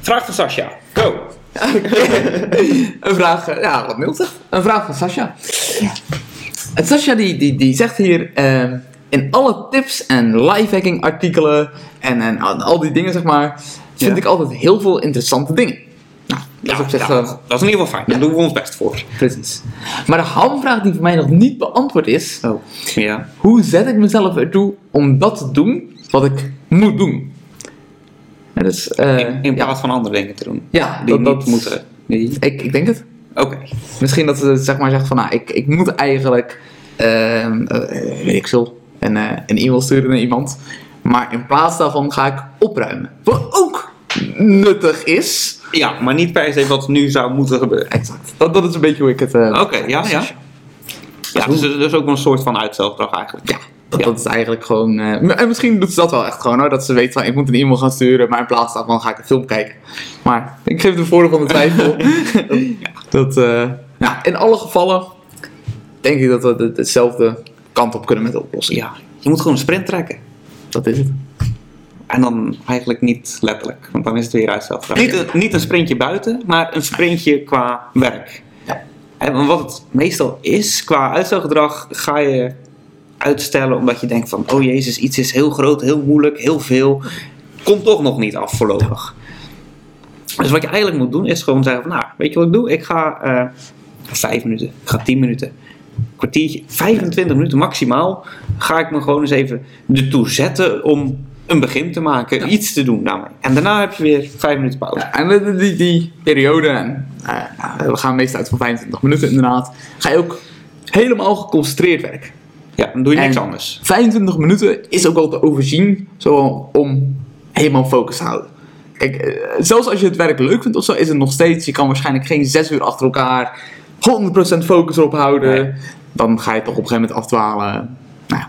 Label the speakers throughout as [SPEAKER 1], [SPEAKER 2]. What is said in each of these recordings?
[SPEAKER 1] Vraag van Sascha. Go.
[SPEAKER 2] een vraag, eh, ja, wat mild zeg. Een vraag van Sascha. En Sascha die, die, die zegt hier, ehm, in alle tips en lifehacking artikelen en, en al- al die dingen zeg maar, vind
[SPEAKER 3] Ja.
[SPEAKER 2] ik altijd heel veel interessante dingen. Nou, dat is op zich...
[SPEAKER 1] nou,
[SPEAKER 2] eh,
[SPEAKER 1] dat is in ieder geval fijn. Daar doen we ons best voor.
[SPEAKER 2] Precies. Maar de hamvraag die voor mij nog niet beantwoord is:
[SPEAKER 3] Oh. Ja.
[SPEAKER 2] hoe zet ik mezelf ertoe om dat te doen wat ik moet doen? Ja, dus, eh,
[SPEAKER 1] In, in plaats van andere dingen te doen.
[SPEAKER 2] ja,
[SPEAKER 1] Die
[SPEAKER 2] dat,
[SPEAKER 1] niet
[SPEAKER 2] dat-
[SPEAKER 1] moeten. Die-
[SPEAKER 2] Ik, ik denk het.
[SPEAKER 1] Oké.
[SPEAKER 2] Misschien dat ze zeg maar zegt van, nou, ik, ik moet eigenlijk, eh, eh, weet ik veel, een, eh, een e-mail sturen naar iemand. Maar in plaats daarvan ga ik opruimen. Wat ook nuttig is.
[SPEAKER 1] Ja, maar niet per se wat nu zou moeten gebeuren.
[SPEAKER 2] Exact. Dat, dat is een beetje hoe ik het... eh,
[SPEAKER 1] Oké, ja, ja. Ja, dus het is ook wel een soort van uitstelgedrag eigenlijk.
[SPEAKER 2] Ja, dat, dat is eigenlijk gewoon. eh, m- en misschien doet ze dat wel echt gewoon hoor. Dat ze weet van ik moet een e-mail gaan sturen, maar in plaats daarvan ga ik een film kijken. Maar ik geef de voordeel van de twijfel. dat, eh, ja, in alle gevallen denk ik dat we de- dezelfde kant op kunnen met de oplossing.
[SPEAKER 1] Ja, je moet gewoon een sprint trekken.
[SPEAKER 2] Dat is het.
[SPEAKER 1] En dan eigenlijk niet letterlijk, want dan is het weer uitstelgedrag.
[SPEAKER 2] Ja.
[SPEAKER 1] Niet, een- niet een sprintje buiten, maar een sprintje qua werk.
[SPEAKER 2] Ja.
[SPEAKER 1] En want wat het meestal is, qua uitstelgedrag ga je uitstellen omdat je denkt van... Oh jezus, iets is heel groot, heel moeilijk, heel veel. Komt toch nog niet af voorlopig. Dus wat je eigenlijk moet doen is gewoon zeggen van... Nou, weet je wat ik doe? Ik ga eh, vijf minuten, ik ga tien minuten, kwartiertje, 25 minuten maximaal... ga ik me gewoon eens even ertoe zetten om een begin te maken, iets te doen daarmee. En daarna heb je weer vijf minuten pauze.
[SPEAKER 2] Ja, En die, die, die periode, en, eh, nou, we gaan meestal uit van 25 minuten inderdaad, ga je ook helemaal geconcentreerd werken.
[SPEAKER 1] Ja, dan doe je niks
[SPEAKER 2] En-
[SPEAKER 1] anders.
[SPEAKER 2] 25 minuten is ook wel te overzien zo om helemaal focus te houden. Kijk, eh, zelfs als je het werk leuk vindt of zo, is het nog steeds. Je kan waarschijnlijk geen 6 uur achter elkaar 100% focus erop houden.
[SPEAKER 1] Nee.
[SPEAKER 2] Dan ga je toch op een gegeven moment afdwalen. Nou ja.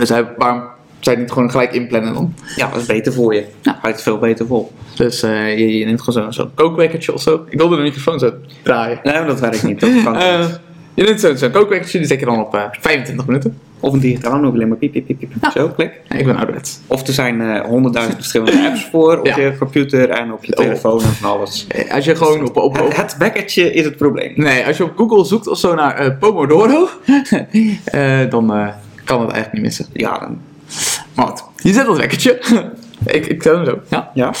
[SPEAKER 2] Dus hij, waarom zou je niet gewoon gelijk inplannen dan?
[SPEAKER 1] Ja, dat is beter voor je.
[SPEAKER 2] Ja.
[SPEAKER 1] Houdt het veel beter vol.
[SPEAKER 2] Dus eh, je, je neemt gewoon zo'n zo'n kookwekkertje of zo. Ik wilde de microfoon zo draaien.
[SPEAKER 1] Nee, maar dat werkt niet. Dat kan
[SPEAKER 2] Eh,
[SPEAKER 1] niet.
[SPEAKER 2] je neemt zo'n zo'n kookwekkertje, die zet je dan op eh, 25 minuten.
[SPEAKER 1] Of een digitaal nog alleen maar piep, piep, piep, piep. Zo, klik.
[SPEAKER 2] Nee, ik ben ouderwets.
[SPEAKER 1] Of er zijn eh, honderdduizend verschillende apps voor op
[SPEAKER 2] Ja.
[SPEAKER 1] je computer en op je
[SPEAKER 2] Oh.
[SPEAKER 1] telefoon en van alles. Oh.
[SPEAKER 2] Eh, Als je gewoon op, op, op,
[SPEAKER 1] Het, het wekkertje is het probleem.
[SPEAKER 2] Nee, als je op Google zoekt of zo naar eh, Pomodoro, eh, dan eh, kan het eigenlijk niet missen.
[SPEAKER 1] Ja, dan,
[SPEAKER 2] Maar goed, je zet dat wekkertje. ik, ik zet hem zo. Ja.
[SPEAKER 1] ja.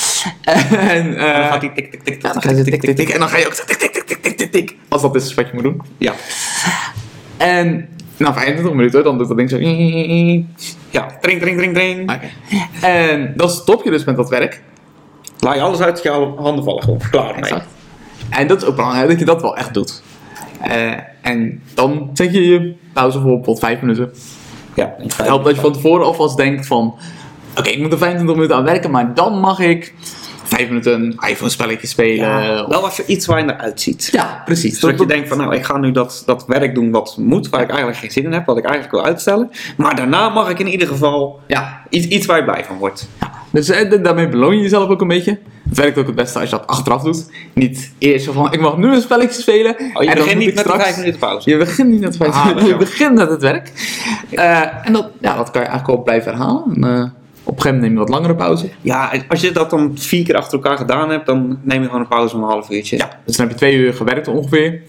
[SPEAKER 2] En, eh,
[SPEAKER 1] dan gaat die tik, tik, tik,
[SPEAKER 2] ja, dan
[SPEAKER 1] tik,
[SPEAKER 2] ga je
[SPEAKER 1] tik,
[SPEAKER 2] zo
[SPEAKER 1] tik,
[SPEAKER 2] tik,
[SPEAKER 1] tik, tik.
[SPEAKER 2] tik, tik. En dan ga je ook zo tik, tik, tik, tik, tik, tik, tik. Als dat is wat je moet doen.
[SPEAKER 1] Ja,
[SPEAKER 2] En na 25 minuten, dan doet dat ding zo.
[SPEAKER 1] ja. Dring, dring, dring, dring.
[SPEAKER 2] Oké. En dan stop je dus met dat werk.
[SPEAKER 1] Laat je alles uit je handen vallen gewoon. Klaar mee.
[SPEAKER 2] Exact. En dat is ook belangrijk, dat je dat wel echt doet. Eh, en dan zet je je pauze voor bijvoorbeeld 5 minuten.
[SPEAKER 1] Ja.
[SPEAKER 2] Het helpt dat je van tevoren alvast denkt van... Oké, ik moet er 25 minuten aan werken, maar dan mag ik... 5 minuten iPhone-spelletje spelen.
[SPEAKER 1] Ja,
[SPEAKER 2] of-
[SPEAKER 1] wel als je iets waar je naar uitziet.
[SPEAKER 2] eh, ja, precies.
[SPEAKER 1] Zodat je denkt van nou, ik ga nu dat, dat werk doen wat moet, waar ik eigenlijk geen zin in heb, wat ik eigenlijk wil uitstellen. Maar daarna mag ik in ieder geval
[SPEAKER 2] Ja,
[SPEAKER 1] iets, iets waar je blij van wordt.
[SPEAKER 2] dus eh, da- daarmee beloon je jezelf ook een beetje. Het werkt ook het beste als je dat achteraf doet. Niet eerst zo van, ik mag nu een spelletje spelen.
[SPEAKER 1] Oh, je
[SPEAKER 2] en dan
[SPEAKER 1] begint
[SPEAKER 2] moet
[SPEAKER 1] niet
[SPEAKER 2] ik
[SPEAKER 1] met de
[SPEAKER 2] straks...
[SPEAKER 1] vijf minuten pauze.
[SPEAKER 2] Je begint niet met vijf
[SPEAKER 1] Ah,
[SPEAKER 2] minuten, je
[SPEAKER 1] dat is
[SPEAKER 2] begint met het werk. Eh, en dat, ja, dat kan je eigenlijk wel blijven herhalen. En, eh, op een gegeven moment neem je wat langere pauze.
[SPEAKER 1] Ja, als je dat dan vier keer achter elkaar gedaan hebt, dan neem je gewoon een pauze van een half uurtje.
[SPEAKER 2] Ja, dus dan heb je twee uur gewerkt ongeveer.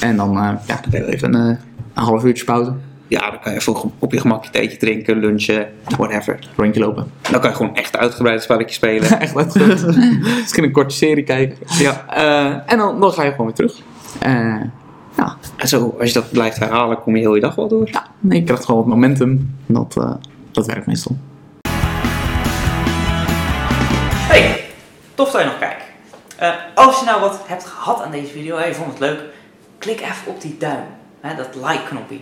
[SPEAKER 2] En dan, eh, ja, dan hebben we even een, eh, een half uurtje pauze.
[SPEAKER 1] Ja, dan kan je even op je gemak je theetje drinken, lunchen, whatever.
[SPEAKER 2] Rondje lopen.
[SPEAKER 1] Dan kan je gewoon echt uitgebreid een spelletje spelen.
[SPEAKER 2] Echt wat goed. Misschien een korte serie kijken.
[SPEAKER 1] ja.
[SPEAKER 2] Eh, en dan, dan ga je gewoon weer terug. Eh, ja,
[SPEAKER 1] En zo, als je dat blijft herhalen, kom je heel je dag wel door.
[SPEAKER 2] ja, nee, je krijgt gewoon wat momentum. En Dat, eh, dat werkt meestal.
[SPEAKER 4] Hey, tof dat je nog kijkt. Eh, als je nou wat hebt gehad aan deze video en je vond het leuk, klik even op die duim, hè, dat like-knopje.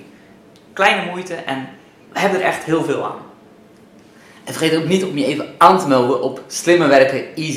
[SPEAKER 4] Kleine moeite en we hebben er echt heel veel aan.
[SPEAKER 5] En vergeet ook niet om je even aan te melden op Slimmer Werken Easy.